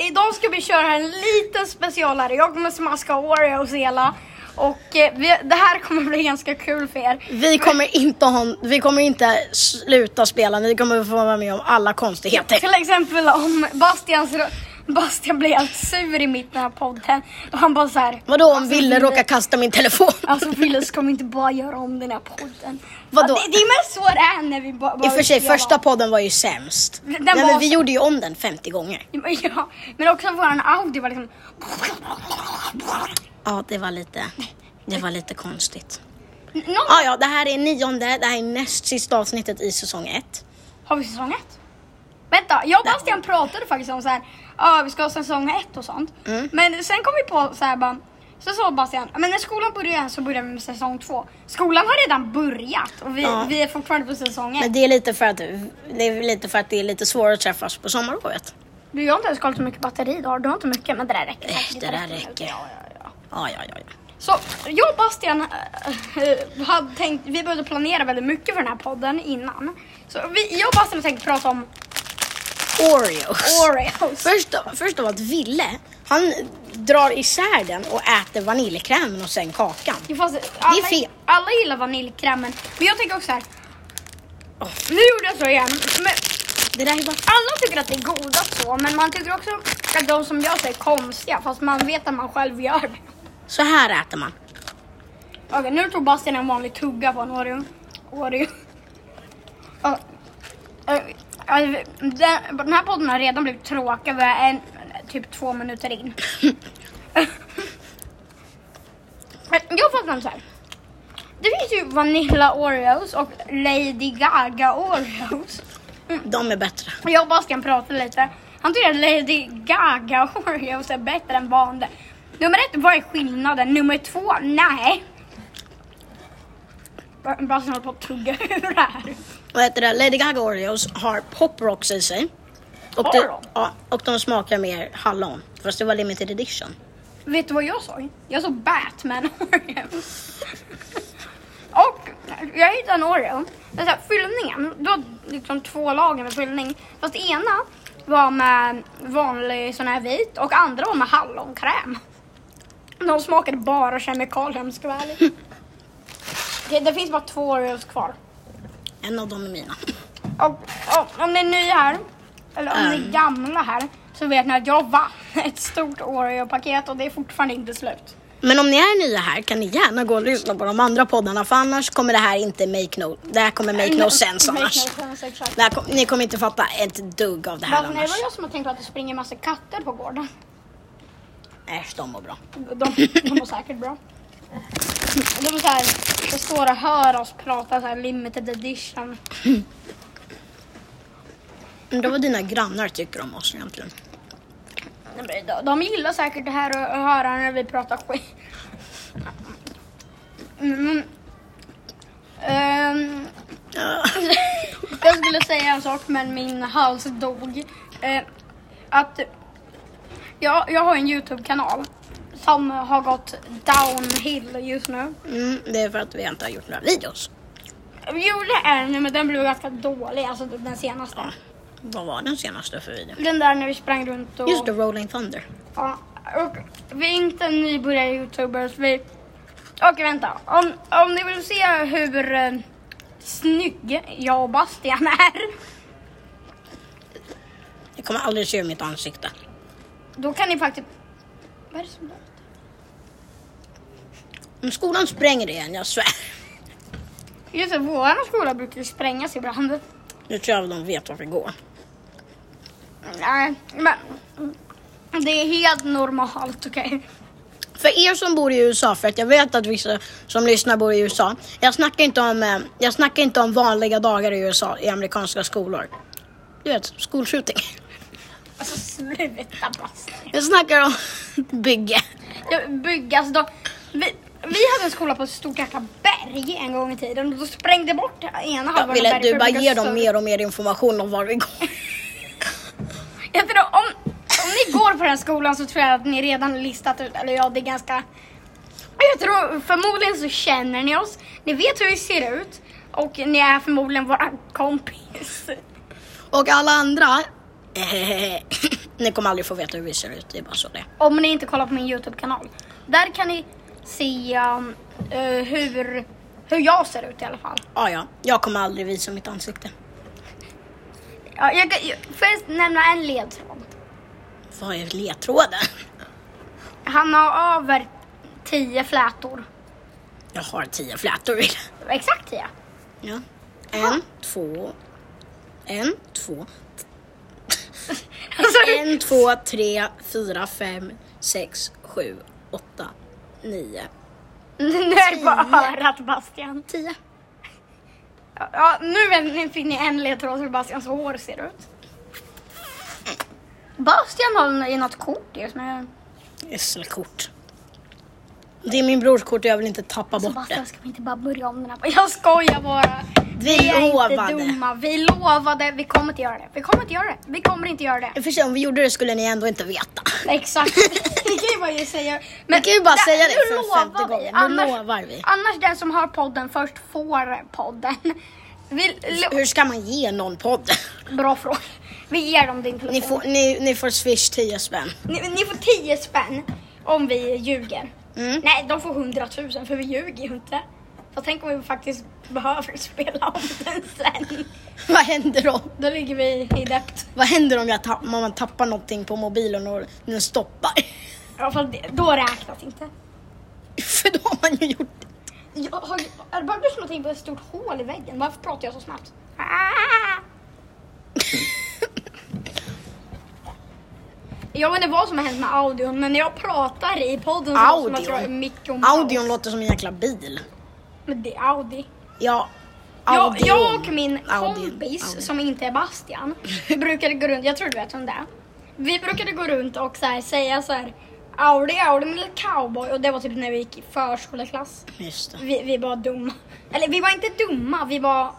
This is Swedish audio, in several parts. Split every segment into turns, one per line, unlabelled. idag ska vi köra en liten specialare. Jag kommer smaska Oreos hela. Och eh, vi, det här kommer bli ganska kul för er.
Vi kommer inte, ha, vi kommer inte sluta spela, ni kommer få vara med om alla konstigheter.
Till exempel om Bastians, rö- Bastian blir helt sur i mitten av podden. Och han bara så här.
Vadå om
alltså,
Ville råkar kasta min telefon?
Alltså Ville ska vi inte bara göra om den här podden.
Vadå?
Ja, Det, det är mest så det är när vi bara... bara
I och för sig,
vill göra
första
om.
podden var ju sämst.
Den
Nej,
var
men vi
så-
gjorde ju om den 50 gånger.
Ja, men också våran audio var liksom...
Ja, det var lite, det var lite konstigt.
Någon...
Ja, ja, det här är nionde, det här är näst sista avsnittet i säsong ett.
Har vi säsong ett? Vänta, jag och Bastian pratade faktiskt om så här, ja vi ska ha säsong ett och sånt.
Mm.
Men sen kom vi på så här bara, så sa Bastian, men när skolan börjar så börjar vi med säsong två. Skolan har redan börjat och vi,
Ja.
vi är fortfarande på säsong ett.
Men det är lite för att det är, lite för att det är lite svårare att träffas på sommarlovet.
Du, jag har inte ens kollat hur mycket batteri du har. Du har inte mycket, men det där räcker.
Eh,
säkert.
det där
minuter.
räcker.
Ja, ja, ja.
Ja, ja, ja. ja.
Så jag och Bastian eh, eh, hade tänkt, vi började planera väldigt mycket för den här podden innan. Så vi, jag och Bastian tänkte prata om
Oreos.
Oreos.
Först, av- först av allt, Ville, han drar isär den och äter vaniljkrämen och sen kakan.
Jo, fast alla,
Det är fel.
alla gillar vaniljkrämen. Men jag tänker också så här. Nu gjorde jag så igen. Men
Det där är bara...
alla tycker att det är goda så, men man tycker också att de som gör sig är konstiga fast man vet att man själv gör det.
Så här äter man.
Okej, nu tog Bastian en vanlig tugga på en Oreo. Oreo. Ja, eh, eh, Den den här podden har redan blivit tråkig. Vi är en, typ två minuter in. Men Jag fattar så här. Det finns ju Vanilla Oreos och Lady Gaga Oreos. Mm.
De är bättre.
Och Jag och Bastian pratade lite. Han tycker att Lady Gaga Oreos är bättre än vanliga. Nummer ett, vad är skillnaden? Nummer två, nej. Ba- Bastian håller på att tugga ur här.
Vad heter det? Lady Gaga Oreos har Pop Rocks i sig. Och
Har
det,
de?
ja, och de smakar mer hallon. Fast det var limited edition.
Vet du vad jag såg? Jag såg Batman Oreos. Och jag hittade en Oreo. Det är så här, fyllningen, du har liksom två lager med fyllning. Fast ena var med vanlig sån här vit och andra var med hallonkräm. De smakade bara kemikalier om jag ska vara ärlig. Det, det finns bara två Oreos kvar.
En av dem är mina.
Och, och om ni är nya här, eller om ni är
Mm.
gamla här, så vet ni att jag vann ett stort Oreo-paket och det är fortfarande inte slut.
Men om ni är nya här kan ni gärna gå och lyssna på de andra poddarna för annars kommer det här inte make no... Det här kommer make no sense
Make
annars.
no sense, exakt.
Det här kom, ni kommer inte fatta ett dugg av det här
Fast nej, det
annars.
var jag som har tänkt på att det springer massa katter på gården.
Äsch, de mår bra.
De, de mår säkert bra. De är så här, de står och hör oss prata så här limited edition.
Undrar vad dina grannar tycker om oss egentligen.
De, de gillar säkert det här och, och höra när vi pratar skit. Mm. Ehm,
Ja.
jag skulle säga en sak men min hals dog. Eh, att jag, jag har en YouTube-kanal som har gått downhill just nu.
Mm, det är för att vi inte har gjort några videos.
Vi gjorde en men den blev ganska dålig, alltså den senaste.
Vad var den senaste för video?
Den där när vi sprang runt och...
Just det, Rolling Thunder.
Ja, och vi är inte nybörjare youtubers. Vi... Okej vänta, om, om ni vill se hur eh, snygg jag och Bastian är.
Jag kommer aldrig se ur mitt ansikte.
Då kan ni faktiskt... Vad är det som låter?
Om skolan spränger det igen, jag svär.
Just det, vår skola brukar ju sprängas ibland.
Nu tror jag de vet varför det går.
Nej, men... Det är helt normalt, okej?
För er som bor i USA, för att jag vet att vissa som lyssnar bor i USA. Jag snackar inte om, eh, jag snackar inte om vanliga dagar i USA i amerikanska skolor. Du vet, skolskjutning.
Alltså sluta Bastian.
Jag snackar om bygge.
Ja, byggas då. Vi, vi hade en skola på ett stort jäkla berg en gång i tiden och då sprängde bort ena halvan
Jag vill
berget
att
för
du
att
bara
bygga
ger dem
större.
mer och mer information om var vi går.
Jag tror, om, om ni går på den här skolan så tror jag att ni redan listat ut, eller ja det är ganska... Jag tror förmodligen så känner ni oss, ni vet hur vi ser ut och ni är förmodligen våran kompis.
Och alla andra. eh, Ni kommer aldrig få veta hur vi ser ut, det är bara så det är.
Om ni inte kollar på min YouTube-kanal. Där kan ni se um, eh, hur, hur jag ser ut i alla fall.
Ja, ja, jag kommer aldrig visa mitt ansikte.
Ja, jag, kan- jag, får jag nämna en ledtråd?
Vad är ledtråden?
Han har över 10 flätor.
Jag har tio flätor.
Exakt 10.
Ja. En, två, en, två,
Alltså,
en, två, tre, fyra, fem, sex, sju, åtta, nio,
nu är det bara örat Bastian.
tio.
Ja, Ja, nu är- fick ni en ledtråd hur Bastians hår ser ut. Bastian har i något kort just nu.
Ysselkort. Det är min brors kort och jag vill inte tappa
Så
bort det.
Bastian, ska vi inte Alltså, bara börja om den här? Jag skojar bara. Vi är inte dumma. Vi lovade. Vi kommer inte göra det. Vi kommer inte göra det. Vi kommer inte göra det.
I och för sig, om vi gjorde det skulle ni ändå inte veta.
Exakt. Vi kan ju bara säga.
Vi kan ju bara
där-
säga det
nu
för
lovar
femte
vi.
gången. Nu lovar vi.
Annars den som hör podden först får podden. Vi, lo-
Hur ska man ge någon podd?
bra fråga. Vi ger dem din telefon.
Ni får, ni, ni får swish 10 spänn.
Ni, ni får 10 spänn om vi ljuger.
Mm.
Nej, de får 100 000 för vi ljuger ju inte. För tänk om vi faktiskt behöver spela om den sen.
Vad händer då?
Då ligger vi i dept.
Vad händer om, jag tapp, om man tappar någonting på mobilen och den stoppar?
I alla fall det- då räknas inte.
För då har man ju gjort det.
Jag har, är det bara du som har tänkt på ett stort hål i väggen? Varför pratar jag så snabbt? Ah! Jag vet inte vad som har hänt med audion, men när jag pratar i podden så låter det som att jag är
Audion.
Micke och Maus.
Audion låter som en jäkla bil.
Men det är Audi.
Ja.
Jag,
audion.
jag och min
Audion.
kompis
Audion.
som inte är Bastian, vi brukade gå runt, jag tror du vet vem det är. Vi brukade gå runt och så här, säga så här Audi, Audi med lite cowboy och det var typ när vi gick i förskoleklass.
Just det.
Vi, vi var dumma. Eller vi var inte dumma, vi var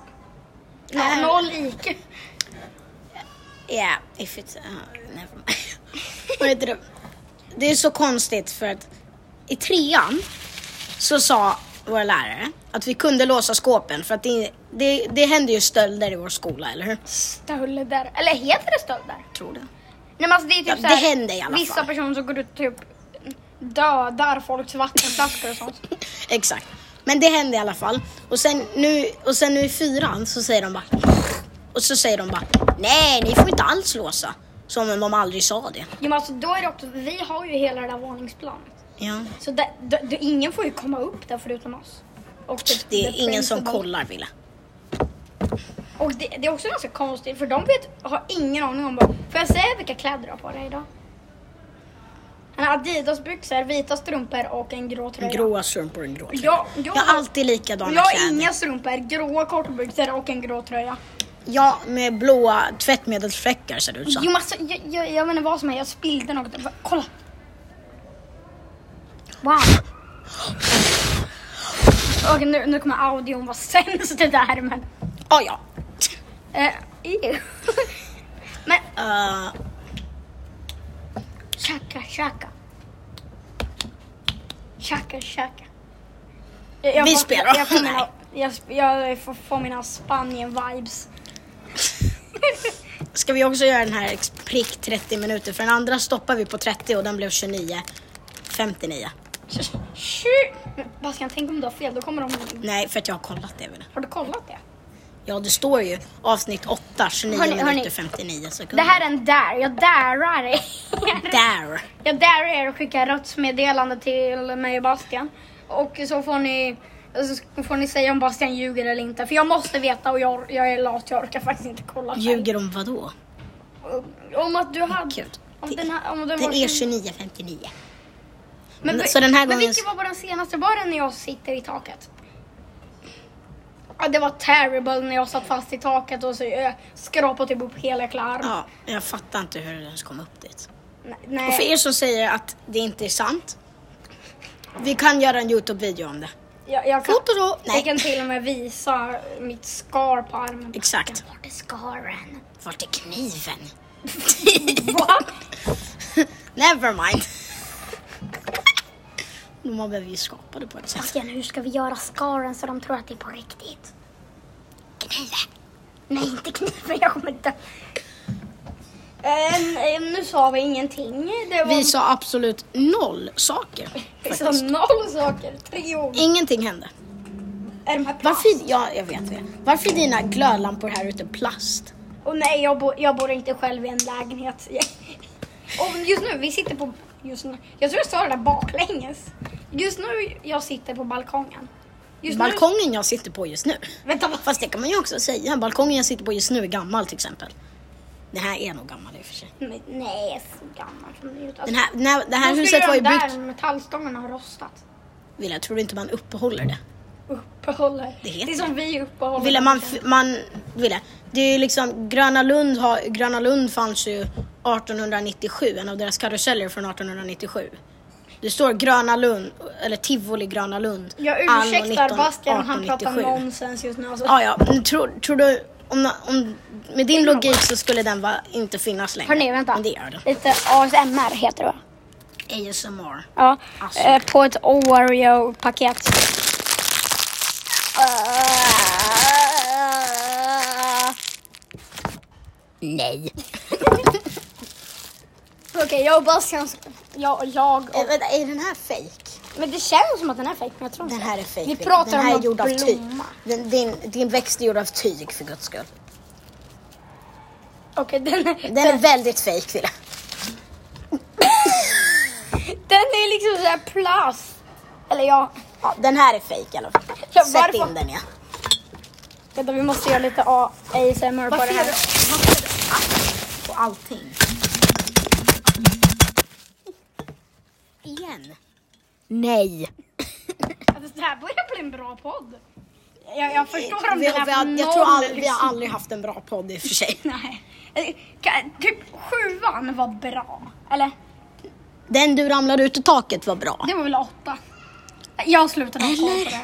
Nej.
no, noll IQ.
Yeah, if it's... Uh, never mind. Vad heter det? Det är så konstigt för att i trean så sa våra lärare att vi kunde låsa skåpen för att det, det, det händer ju stölder i vår skola, eller hur?
Stölder. Eller heter det stölder?
Tror det.
Nej men alltså det är typ
Ja,
så här,
det händer i alla
Vissa
fall.
personer som går ut och typ dödar folks vattenflaskor och sånt.
Exakt. Men det hände i alla fall. Och sen nu, och sen nu i fyran så säger de bara... Och så säger de bara nej, ni får inte alls låsa. Som om de aldrig sa det.
Jo men alltså då är det också, vi har ju hela det där våningsplanet.
Ja.
Så där, d- d- ingen får ju komma upp där förutom oss. Och typ
Det är
the
ingen som
principal.
kollar, Ville.
Och det, det är också ganska konstigt för de vet, har ingen aning om vad... Får jag säga vilka kläder du har på dig idag? Han har Adidas-byxor, vita strumpor och en grå tröja.
Gråa strumpor och en grå tröja.
Jag, jag,
Jag har alltid likadana
jag har
kläder.
inga strumpor, gråa kortbyxor och en grå tröja.
Ja, med blåa tvättmedelsfläckar ser det ut
Jo
som.
men alltså, jag, jag, jag vet inte vad som är, jag spillde något. Va- Kolla! Wow! Okej nu, nu kommer audion vara sämst där men...
Ah, ja.
Eh, ew. Men
Eh,
chaka chaka. Chaka chaka. Jag- jag
Vi
får-
spelar.
Jag, jag, får mina, jag, sp- jag får, får mina Spanien-vibes.
ska vi också göra den här ex- prick 30 minuter? För den andra stoppar vi på 30 och den blev 29. 59.
Tju- Men Bastian, tänk om du har fel, då kommer de...
Nej, för att jag har kollat det. Ville.
Har du kollat det?
Ja, det står ju avsnitt 8, 29
Hörni,
minuter
hörni.
59 sekunder.
Det här är en dare, jag darar er.
Där!
Jag darar er att skicka röstmeddelande till mig och Bastian. Och så får ni, så får ni säga om Bastian ljuger eller inte. För jag måste veta och jag, jag är lat, jag orkar faktiskt inte kolla själv.
Ljuger om vad då?
Om att du hade...
Gud.
Om den, här, om den,
Den
var
är 29.59.
men,
så den här
Men
gången-
vilken var på den senaste? Var den när jag sitter i taket? Ja, det var terrible när jag satt fast i taket och så jag skrapade typ upp hela jäkla arm.
Ja, jag fattar inte hur den ens kom upp dit.
Nej,
Och för
Nej,
er som säger att det inte är sant. Vi kan göra en Youtube-video om det.
jag, jag, kan,
Foto då?
jag
Nej,
kan till och med visa mitt skar på armen.
exakt.
Vart är skaren?
Vart är kniven?
Va?
Never mind. Man behöver ju skapa det på ett sätt.
Bastian, hur ska vi göra skaren så de tror att det är på riktigt? Kniven. Nej, inte kniven. Jag kommer dö. Ehm, ehm, nu sa vi ingenting. Det var
Vi sa absolut noll saker.
vi sa noll saker. Tre ord.
Ingenting hände.
Är de här plast?
Varför, ja, jag vet det. Varför är dina glödlampor här ute plast?
Och nej, jag, bo, jag bor inte själv i en lägenhet. Och just nu, vi sitter på... Just nu, jag tror jag sa det där baklänges. Just nu, jag sitter på balkongen. Just
Balkongen jag sitter på just nu.
Nu, vänta, vad
Fast det kan man ju också säga. Balkongen jag sitter på just nu är gammal till exempel. Den här är nog gammal i och för sig.
Men Nej, så gammal kan det ju inte.
Den
Alltså,
här, när, det här
då
huset
skulle
var ju
de
byggt...
där metallstångarna ha rostat.
Villa, tror du inte man uppehåller det?
Uppehåller.
Det heter
är som vi uppehåller.
Ville man, f- man ville. Det är ju liksom Gröna Lund, har, Gröna Lund fanns ju 1897, en av deras karuseller från 1897. Det står Gröna Lund, eller Tivoli Gröna Lund.
Jag
anno
ursäktar
19-
Bastian, han pratar
1897.
nonsens just nu. Alltså.
Ja, ja, men tror, tror du, om, om, med din logik så skulle den va, inte finnas längre.
Hörni, vänta.
Men det gör den.
Lite ASMR heter det va?
ASMR.
Ja,
Alltså.
eh, på ett Oreo-paket. Eh.
Nej.
Okej, jag och Bastian... Jag och jag och...
Eh, vänta, är den här fake?
Men det känns som att den är fejk, men jag tror inte
Den här är fake.
Vi pratar
den här
om
är
en
gjord av tyg.
blomma.
Den, din, din växt är gjord av tyg för guds skull.
Okej, den, är-
Den är väldigt fake Wille.
den är liksom såhär plast. Eller ja,
Ja, den här är fake i alla fall.
Ja,
Sätt
varför-
in den ja.
vänta vi måste göra lite A- ASMR på det här.
på allting? Igen. Nej.
Alltså, det här börjar bli en bra podd. Jag, jag förstår om
Vi,
den
har-
är
vi har,
för
jag tror
noll
aldrig, vi har aldrig haft en bra podd i och för sig.
Nej. Eh, kan- Typ sjuan var bra. Eller?
Den du ramlade ut ur taket var bra.
Det var väl åtta. Jag slutade ha koll på
Eller?
det.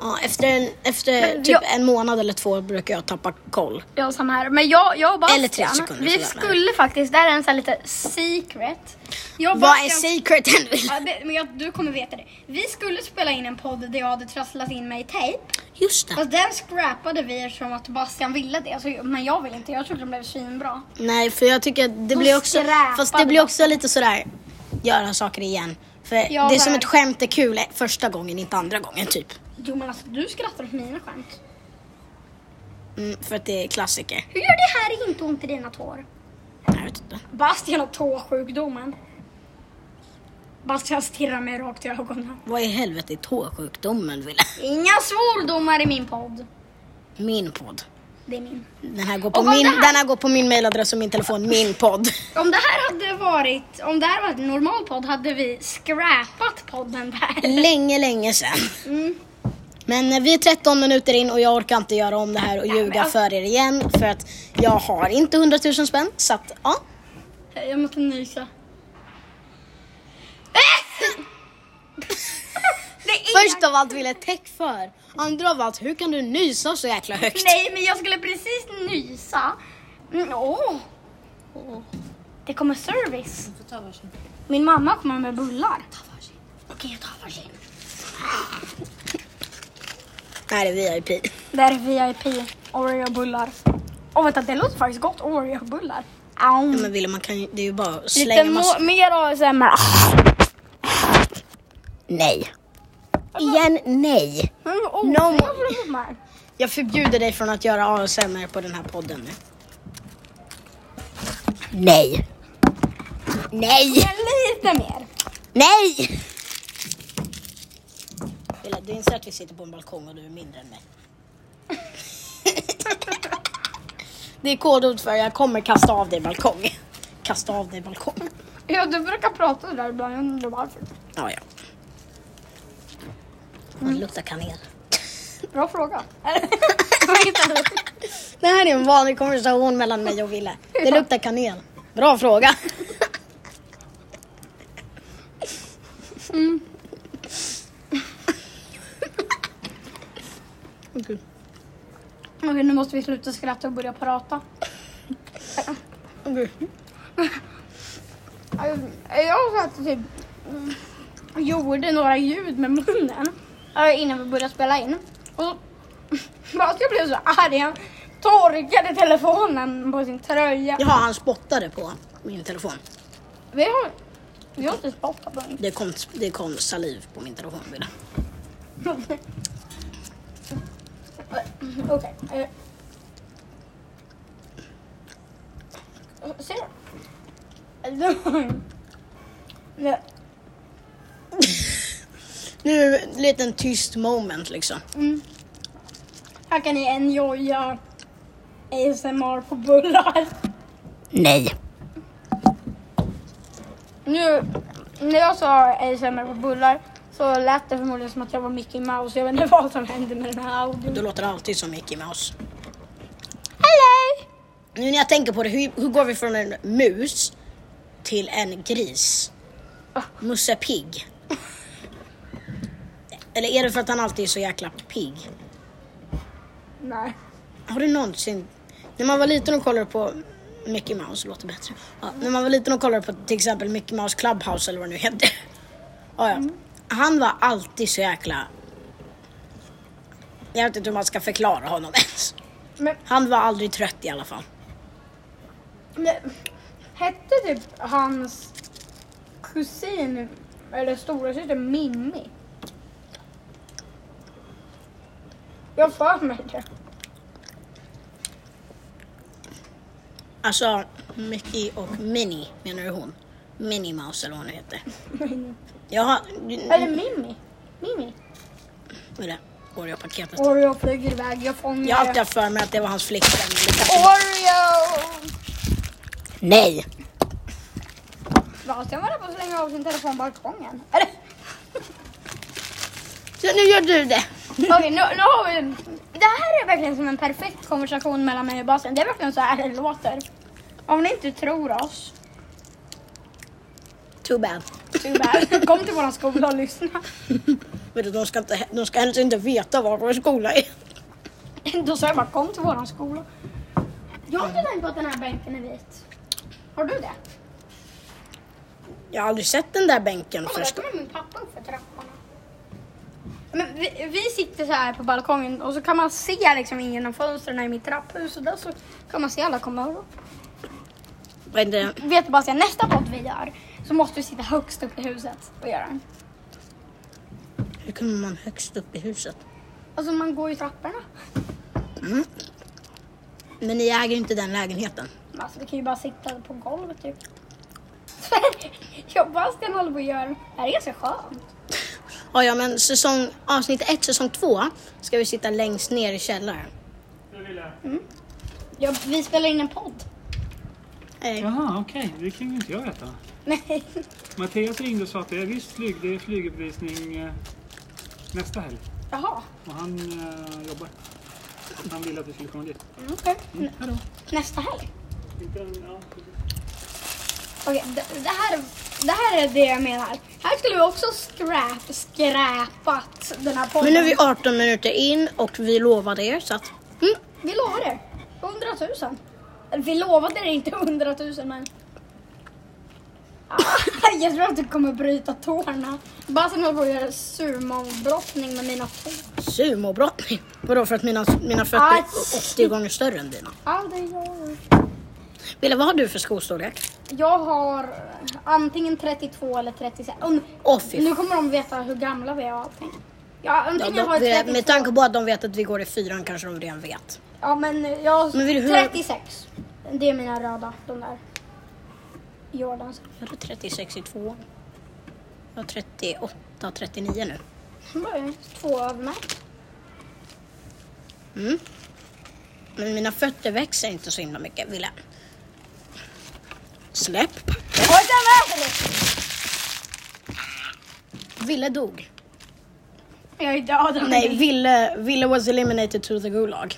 Ja, efter en, efter
Men
typ
jag-
en månad eller två brukar jag tappa koll.
Jag samma här. Men jag, jag och Bastian,
Eller tre sekunder,
vi
sådär.
skulle faktiskt, det här är en sån här lite secret. Jag och
Vad är
Bastian-
secreten? Wille?
Ja, det, men jag, du kommer veta det. Vi skulle spela in en podd där jag hade trasslat in mig i tejp.
Just det.
Fast den scrappade vi eftersom att Bastian ville det. Så, men jag ville inte, jag trodde den blev svinbra.
Nej, för jag tycker att det blir också,
skräpar
fast det
du
blir
bara.
också lite sådär, göra saker igen. För
Ja,
det är som
väl.
ett skämt är kul första gången, inte andra gången typ.
Jo men alltså du skrattar åt mina skämt.
Mm, för att det är klassiker.
Hur gör det här inte ont i dina tår?
Jag vet inte.
Bastian har tåsjukdomen. Bastian stirrar mig rakt i ögonen.
Vad i helvete är tåsjukdomen Wille?
Inga svordomar i min podd.
Min podd.
Det är min.
Den här går på
Och vad
min,
det här-
den här går på min mailadress och min telefon, min podd.
Om det här hade varit, om det här varit en normal podd hade vi scrappat podden där.
Länge, länge sedan.
Mm.
Men eh, vi är 13 minuter in och jag orkar inte göra om det här och
Nej, men
ljuga
alltså-
för er igen. För att jag har inte 100 000 spänn, så att ja.
Jag måste nysa. Det är...
Först av allt ville täck för. Andra av allt, hur kan du nysa så jäkla högt?
Nej, men jag skulle precis nysa. Mm, åh. Det kommer service. Min mamma kommer med bullar. Okej, jag tar varsin.
Det här är VIP.
Där är VIP. Oreo-bullar. Åh, vänta, det låter faktiskt gott. Oreo-bullar. Au.
Men Wille, man kan ju, det är ju bara att
Lite
slänga
må-
massa...
mer ASMR.
Nej. Igen, nej.
Mm, åh,
No
jag
more.
får de här.
Jag förbjuder dig från att göra ASMR på den här podden nu. Nej. Nej.
Men Lite mer.
Nej! Wille, du inser att vi sitter på en balkong och du är mindre än mig. det är kodord för jag kommer kasta av dig balkongen. Kasta av dig balkongen.
Ja, du brukar prata där ibland. Jag undrar varför.
Ja, ja. Mm. Det luktar kanel.
Bra fråga.
Det här är en vanlig konversation mellan mig och Ville. Det luktar kanel. Bra fråga. Mm. Okej.
Okej, nu måste vi sluta skratta och börja prata.
Okej.
Alltså, Jag satt och typ mm, gjorde några ljud med munnen eh, innan vi började spela in. Och så- bara att jag blev så arg. Jag torkade telefonen på sin tröja.
Jaha, han spottade på min telefon.
Vi har, vi har inte spottat på den.
Det kom, det kom saliv på min telefon. vid det.
Okej. eh. Ser du? Det-
Nu, en liten tyst moment liksom.
Mm. Här kan ni enjoya ASMR på bullar.
Nej.
Nu, när jag sa ASMR på bullar så lät det förmodligen som att jag var Mickey Mouse. Jag vet inte vad som hände med den här
Du
audion.
låter alltid som Mickey Mouse.
Hello!
Nu när jag tänker på det, hur, hur går vi från en mus till en gris? Musse Pigg. Eller är det för att han alltid är så jäkla pigg?
Nej.
Har du någonsin... När man var liten och kollade på Mickey Mouse, låter bättre. Ja, när man var liten och kollade på till exempel Mickey Mouse Clubhouse eller vad det nu hette. Ja, ja. Han var alltid så jäkla... Jag vet inte hur man ska förklara honom ens.
Men,
Han var aldrig trött i alla fall.
men hette typ hans kusin eller storasyster Mimmi? Jag har för mig det.
Alltså, Mickey och Minnie menar du hon? Minnie Mouse eller vad hon nu heter. Jag har...
Eller Mimmi. Mimmi.
Vad är det? Oreo-paketet.
Oreo flyger iväg, jag fångar
Jag har alltid haft för mig att det var hans flickvän. men det kanske-
Oreo!
Nej!
Sebastian var där på att slänga av sin telefon på balkongen. Eller?
Så nu gör du det.
Okej, nu, nu har vi... Det här är verkligen som en perfekt konversation mellan mig och Bastian. Det är verkligen så här det låter. Om ni inte tror oss,
Too bad.
tyvärr, kom till våran skola och lyssna.
Vet du, de, ska inte, de ska helst inte veta var vår skola är.
Då sa jag bara kom till våran skola. Jag har inte tänkt på att den här bänken är vit. Har du det?
Jag har aldrig sett den där bänken
Ja,
först.
där kommer min pappa upp för trapporna. Men vi, vi sitter så här på balkongen och så kan man se liksom in genom fönstren i mitt trapphus och där så kan man se alla komma upp.
Vad är det?
Vet du bara att nästa podd vi gör så måste vi sitta högst upp i huset och göra den.
Hur kommer man högst upp i huset?
Alltså man går ju trapporna.
Men ni äger ju inte den lägenheten.
Men Alltså vi kan ju bara sitta på golvet typ. Jag och Bastian håller på att göra det här är ganska skönt.
Ja, ja, men säsong, avsnitt ett, säsong två ska vi sitta längst ner i källaren.
Ja, vi spelar in en podd.
Hej.
Jaha, okej. Det kan ju inte jag veta.
Nej.
Mattias ringde och sa att det är visst flyg, det är flyguppvisning eh, nästa helg.
Jaha.
Och han eh, jobbar. Han vill att vi ska komma dit.
Mm, Okej.
Mm, hejdå.
Nästa helg.
Inte en, ja, precis.
Okej, det, det, här, det här är det jag menar. Här skulle vi också skräp, skräpat den här podden.
Men nu är vi 18 minuter in och vi lovade er så att
mm, vi lovade 100 000. Eller, Vi lovade det inte 100 000 men... Ah, jag tror att du kommer bryta tårna. Basen håller på att göra sumobrottning med mina tår.
sumobrottning. Vadå för att mina, mina fötter
Aj.
är 80 gånger större än dina?
Aldrig jag.
Wille, vad har du för skostorlek?
Jag har eh, antingen 32 eller 36. Mm,
Åh fy
nu kommer de veta hur gamla vi är och allting. Ja,
Ja,
antingen har
de,
jag
det-
32.
med tanke på att de vet att vi går i fyran kanske de redan vet.
Ja men jag...
Men vill du-
36. Det är mina röda, de där. Jordans.
Jag har 36 i tvåan. Jag har 38, 39 nu.
Det var ju Två av mig.
Mm. Men mina fötter växer inte så himla mycket, Wille. Släpp.
Oj, där var det!
Wille dog.
Jag är död.
Nej, Wille, Wille was eliminated to the Gulag.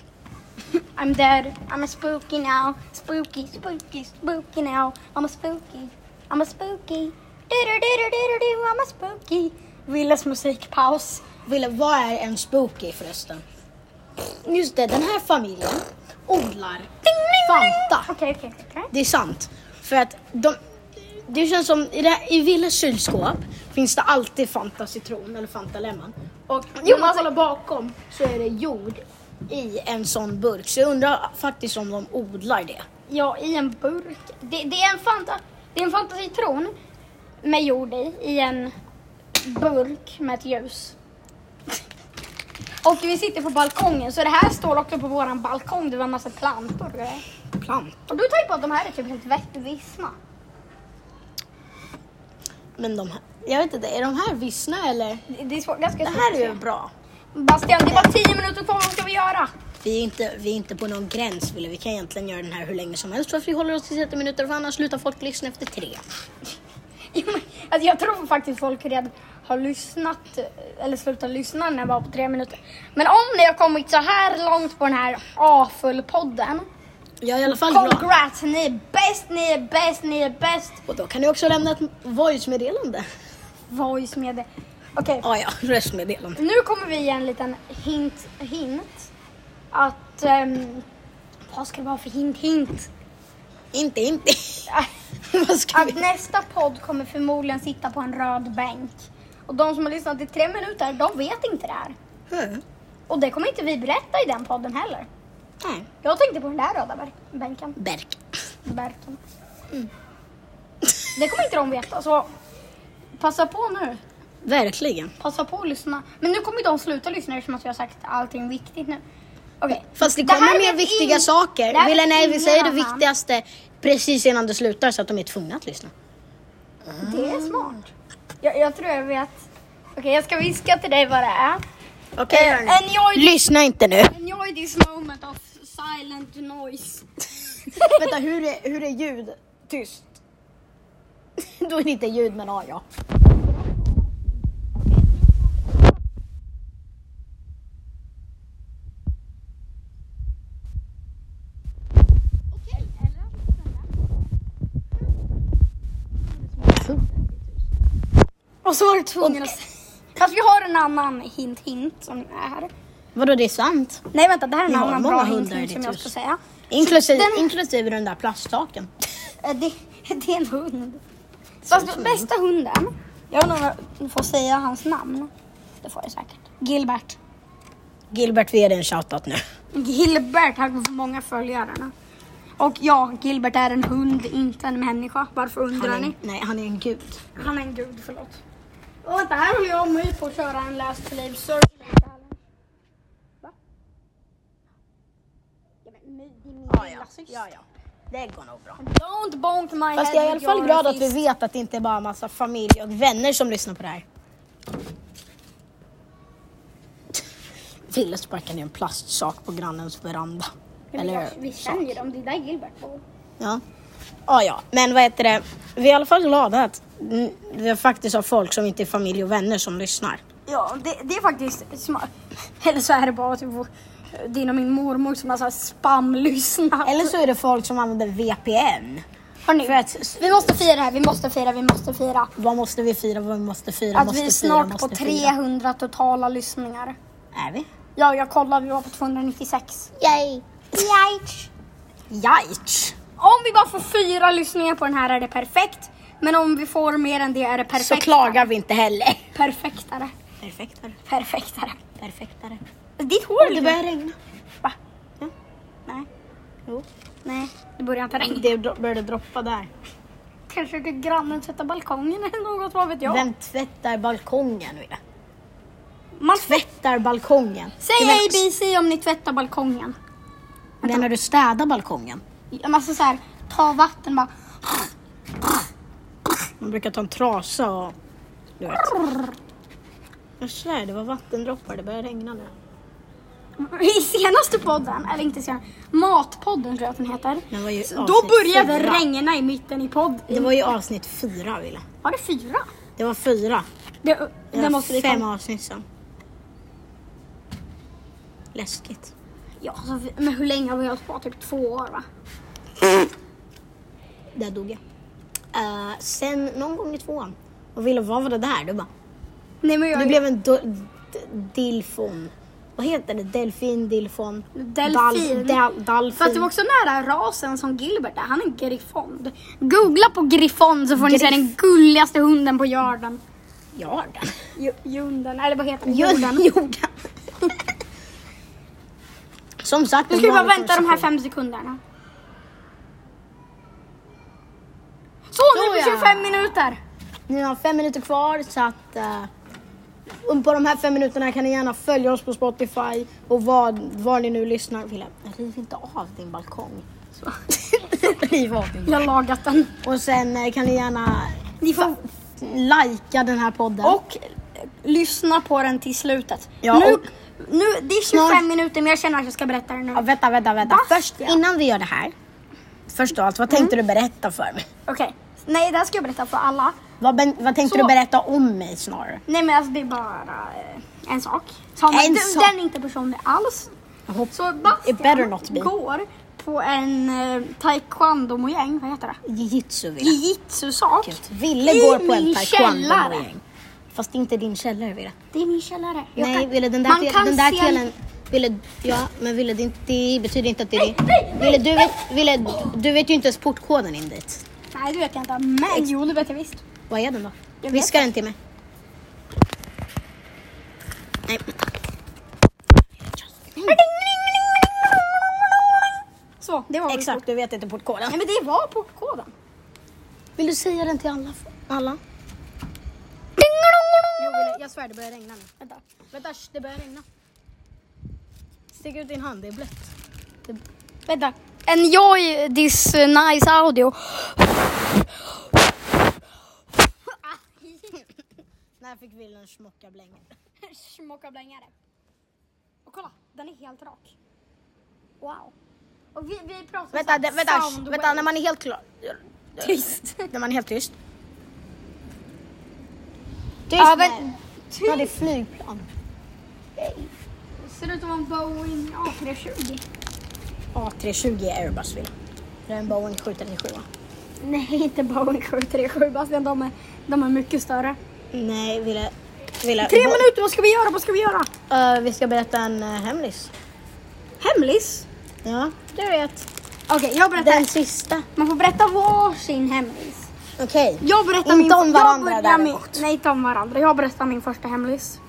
I'm dead. I'm a spooky now. Spooky, spooky, spooky now. I'm a spooky. I'm a spooky. Du-du-du-du-du-du-du, I'm a spooky. Willes musikpaus.
Wille, vad är en spooky förresten? Just det, den här familjen odlar Fanta.
Okej, okej, okej.
Det är sant. För att de, det känns som, i, det, i Willes kylskåp finns det alltid Fanta citron eller Fanta lemon. Och när
Jo,
man
alltså-
kollar bakom så är det jord i en sån burk. Så jag undrar faktiskt om de odlar det.
Ja, i en burk. Det, det, är, en fanta, det är en fantasitron med jord i, i en burk med ett ljus. Och vi sitter på balkongen, så det här står också på våran balkong. Det var en massa plantor och grejer.
Plant.
Och du tänker på att de här är typ helt vett- vissna.
Men de här, jag vet inte, är de här vissna eller?
Det, det är svårt, ganska
Det
svårt
här
att
är
se.
ju bra.
Bastian, det är bara 10 minuter kvar. Vad ska vi göra?
Vi är, inte, vi är inte på någon gräns Wille. Vi kan egentligen göra den här hur länge som helst för att vi håller oss till 30 minuter för annars slutar folk lyssna efter tre.
Jo, men, Alltså, jag tror faktiskt folk redan har lyssnat eller slutat lyssna när jag var på tre minuter. Men om ni har kommit så här långt på den här A-full-podden.
Jag är i alla fall glad.
Congrats! Ni är bäst, ni är bäst, ni är bäst.
Och då kan ni också lämna ett voice-meddelande.
Voice med det. Okej,
Ah, ja, röstmeddelande.
nu kommer vi ge en liten hint, hint. Att... ehm, vad ska det vara för hint, hint?
Inte, inte. Vad ska
Att
vi?
nästa podd kommer förmodligen sitta på en röd bänk. Och de som har lyssnat i tre minuter, de vet inte det här.
Hmm.
Och det kommer inte vi berätta i den podden heller.
Nej,
Jag tänkte på den där röda bär- bänken.
Berk.
Bärken. Mm. Det kommer inte de veta, så passa på nu.
Verkligen.
Passa på att lyssna. Men nu kommer ju de sluta lyssna eftersom att jag har sagt allting viktigt nu. Okej.
Fast det
här
kommer mer
vet
viktiga
in-
saker.
det här
Wille,
vet
nej, vi
ingen
säger det
annan.
viktigaste precis innan det slutar så att de är tvungna att lyssna.
Det är smart. Jag, jag tror jag vet. Okej, jag ska viska till dig vad det är.
Okej,
Eh, enjoy,
Lyssna inte nu.
enjoy this moment of silent noise.
Vänta, hur är, hur är ljud tyst? Då är det inte ljud men ah, ja.
Och så var du tvungen att... Fast vi har en annan hint hint som är här.
Vadå det är sant?
Nej vänta, det här är en
Vi har
annan
många
bra
hundar
hint
i
hint
ditt
som jag
hus.
ska säga.
Inklusive,
Den-
inklusive den där plastsaken.
Eh, Det, det är en hund. Fast bästa hunden, jag undrar om jag får säga hans namn. Det får jag säkert. Gilbert.
Gilbert, vi ger dig en shoutout nu.
Gilbert, han kommer få många följare nu. Och ja, Gilbert är en hund, inte en människa. Varför undrar
Han är,
ni?
nej, han är en gud.
Han är en gud, förlåt. Och vänta, här håller jag och My på att köra en last believe surgery. Va? Ja, men My, det är min lilla syster.
Det går nog bra.
Don't bonk my
Fast
head
jag är i alla
with
fall
your
glad att
fist.
vi vet att det inte är bara massa familj och vänner som lyssnar på det här. Ville sparkar ner en plastsak på grannens veranda.
Nej, men
Eller
jag- Vi känner ju dem, det är där Gilbert bor.
Ja. Ah, ja, men vad heter det? Vi är i alla fall glada att mm, vi faktiskt har folk som inte är familj och vänner som lyssnar.
Ja, det, det är faktiskt smart. Eller så är det bara typ vår- din och min mormor som har så här spamlyssnat.
Eller så är det folk som använder VPN.
Hörni,
För att
vi måste fira det här, vi måste fira, vi måste fira.
vad måste vi fira? Vad måste fira?
Att
måste
vi är
fira,
snart
måste
på
fira.
300 totala lyssningar.
Är vi?
Ja, jag kollade, vi var på 296.
Yay!
Yikes.
Yikes!
Om vi bara får fyra lyssningar på den här är det perfekt. Men om vi får mer än det är det
Så
perfekt.
klagar vi inte heller.
Perfektare.
Perfektare,
Perfektare.
perfektare.
Ditt hår är
Det
lite-
börjar regna.
Va? Nej.
Jo.
Nej, det börjar inte regna.
Det dro- började droppa där.
Kanske ska grannen tvätta balkongen eller något, vad vet jag?
Vem tvättar balkongen? Wille?
Man
Tvättar balkongen?
Säg
Du menar-
ABC om ni tvättar balkongen.
Menar du städa balkongen?
Alltså så här, ta vatten bara.
Man brukar ta en trasa och... Du vet. Jag svär, det var vattendroppar. Det börjar regna nu.
I senaste podden, eller inte senaste, Matpodden tror jag att den heter.
Det var ju
Så Då
avsnitt
började det
fyra.
regna i mitten i podden.
Det var ju avsnitt fyra, Wille.
Var det fyra?
Det var fyra.
Det,
Det
det
var
måste vi
fem
komma.
avsnitt sedan. Läskigt.
Ja, alltså, vi- men hur länge har vi hållit på? Typ två år va?
Där dog jag. Eh, sen någon gång i tvåan. Och Wille, vad var det där? Du bara...
Nej men jag
Du blev en do- d- dilfon. Vad heter det? Delfin, dilfon?
Delfin.
Dal- del- dalfin.
Fast det var också nära rasen som Gilbert är, han är en griffond. Googla på griffond så får ni se
Griff.
den gulligaste hunden på jorden.
Jorden.
Ju- Junden, eller vad heter den?
Jorden. Jorden. Som sagt,
Nu
en
ska vi bara
vanlig
vänta de här
konversation.
fem sekunderna. Så, nu är
Så,
det
ja.
25 minuter.
Ni har fem minuter kvar så att eh, um, på de här fem minuterna kan ni gärna följa oss på Spotify och vad, var ni nu lyssnar. Wilhelm, riv inte av din balkong. Så. riv av din.
Jag har lagat den.
Och sen eh, kan ni gärna
Ni får
likea den här podden.
Och eh, lyssna på den till slutet.
Ja,
nu,
och-
nu, det är 25
Snart-
minuter men jag känner att jag ska berätta det nu.
ja,
Okej,
vänta, vänta, vänta.
Fast,
Först,
ja.
innan vi gör det här. Först av allt, vad tänkte du berätta för mig?
nej det här ska jag berätta för alla.
Vad, ben, vad tänkte
Så-
du berätta om mig snarare?
Nej men alltså det är bara eh, en sak. Som,
En
den,
sak.
den är inte personlig alls.
Jag hopp-
Så
It better
Bastian
not be.
går på en eh, taekwondo-mojäng, vad heter det?
Jujutsu vill jag.
Jujitsu-sak.
Gud, Ville
I
går på en
min
taekwondo
källare.
Fast inte din källare Ville.
Det är min källare. Jag
Nej,
kan-
Ville den där,
man
te-
kan
den där
se-
telen... Ville, ja, men Ville det, inte- det betyder inte att det är
Nej,
din.
nej, nej,
Ville, du vet, Ville, du vet ju inte ens portkoden in dit.
Nej det vet jag inte, men jo det vet jag visst.
Vad är den då?
Jag vet
Viska den till mig. Nej, vänta.
Så, det var väl
Exakt,
port-
du vet inte portkoden.
Nej men det var portkoden.
Vill du säga den till alla? alla? Jo, Ville, jag svär det börjar regna nu.
Vänta.
Vänta, sh, det börjar regna. Stick ut din hand, det är blött.
Vänta. Enjoy this eh, nice audio.
När fick Ville en smockablänga?
Smocka blängare. Och kolla, den är helt rak. Wow. Och vi, vi pratar
Vänta,
såhär
det, vänta, sh,
soundwave.
vänta, när man är helt klar.
Tyst.
När man är helt tyst. Tyst
Ja,
med
men,
er. Ja, det är
tyst.
flygplan.
Ser ut som en Boeing A320.
A320 Airbus vill jag. Det är en Boeing 737 va?
Nej, inte Boeing 737 Bastian. De är, de är mycket större.
Nej, ville... ville
Tre
Bo-
minuter, vad ska vi göra? Vad ska vi göra?
Eh, vi ska berätta en uh, hemlis.
Hemlis?
Ja, du vet.
Okej, jag berättar.
Den sista.
Man får berätta varsin hemlis.
Okej.
Jag berättar
Inte
min...
om varandra
jag börjar min,
däremot.
Nej, inte om varandra. Jag berättar min första hemlis.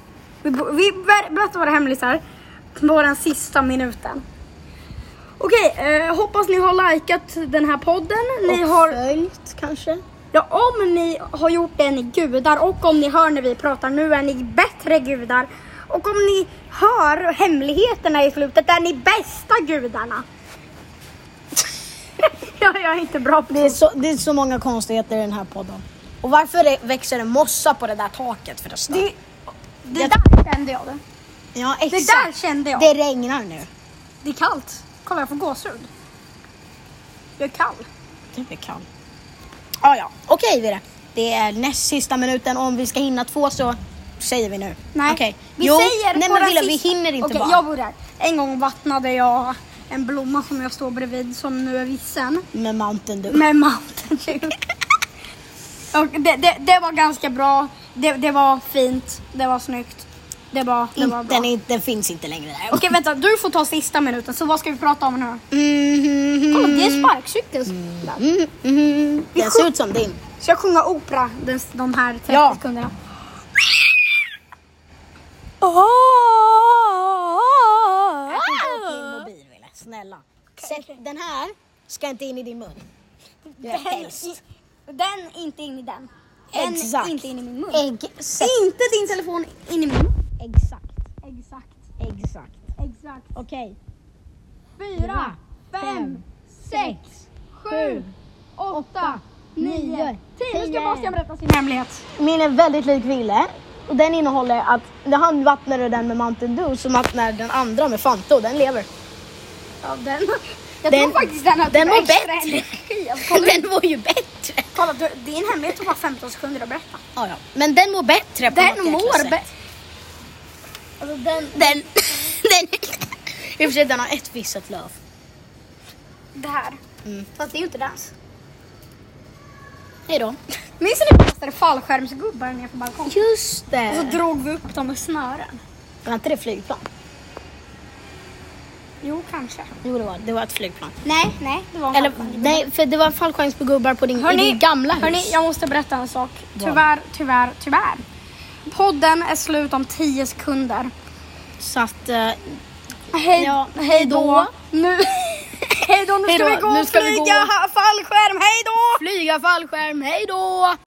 Vi, bo- vi ber- berättar våra hemlisar på den sista minuten. Okej, eh, hoppas ni har likat den här podden. Ni
Och
har,
följt kanske.
ja, om ni har gjort det är ni gudar och om ni hör när vi pratar nu är ni bättre gudar. Och om ni hör hemligheterna i slutet är ni bästa gudarna. jag, jag är inte bra på
Det är, så, det är så många konstigheter i den här podden. Och varför det växer en mossa på det där taket förresten?
Det, det där kände jag. Det,
ja,
det
exakt.
där kände jag.
Det regnar nu.
Det är kallt. Kolla, jag får gåshud. Jag är kall.
Det blir kallt. Ah, ja, okej Vire. Det är näst sista minuten. Om vi ska hinna två så säger vi nu.
Nej,
Okej.
vi
jo,
säger
nej,
på
men
den
Villa, vi
sista-
hinner inte
Okej,
bara.
jag börjar. En gång vattnade jag en blomma som jag står bredvid som nu är vissen
Med Mountain Dew.
med Mountain Dew. Och det, det, det var ganska bra. Det, det var fint. Det var snyggt. Det var, det var
Inte-
bra.
Den, är- den finns inte längre där.
Okej, vänta. Du får ta sista minuten. Så vad ska vi prata om nu?
Mhm.
Kolla, det är sparkcykel.
Mhm, mhm. Den ser ut som din.
Ska jag sjunga opera den, de här 30
Ja.
sekunderna?
Jag skickar upp min mobil Wille, snälla. Sätt, Den här ska inte in i din mun. Det är helst.
i- den inte in i den. Den
Exakt.
inte in i min mun.
Exakt.
Inte din telefon in i min mun.
Exakt.
Exakt,
Exakt.
exakt.
Okej.
Fyra, fem, sex, sju, åtta, nio, tio. Nu ska
tio.
Bastian berätta sin hemlighet.
Min är väldigt lik Ville. Och den innehåller att när han vattnade den med Mountain Dew så vattnade den andra med Fanta och den lever.
Ja, den. Jag
Den-
tror faktiskt den hade
den var
extra
bättre.
energi. Alltså, kolla,
den mår ju bättre.
kolla, du, din hemlighet tog bara 15 sekunder att berätta.
Ja, ja. Men den mår bättre på något
Den
jäkla
mår
sätt.
bättre. Alltså den,
Den... den... I och för sig den har ett visset löv.
det här.
Mm.
Fast det är ju inte dans.
Hejdå.
Minns ni när vi kastade fallskärmsgubbar ner på balkongen?
Just
Och
det.
så drog vi upp dem med snören.
Alltså, Var inte det flygplan?
Jo, kanske.
Jo det var det. var ett flygplan.
Nej, nej, det var
Eller nej, för det var fallskärmsgubbar på din, i
Hörni,
din gamla hus.
hörni, jag måste berätta en sak. Tyvärr, tyvärr, tyvärr. Podden är slut om 10 sekunder.
Så att eh,
Hej,
Ja,
hej då.
då.
Nu, hej då, nu ska
Hej då,
vi gå
nu
och
ska vi
flyga
gå.
fallskärm. Hej då!
Flyga fallskärm, hej då!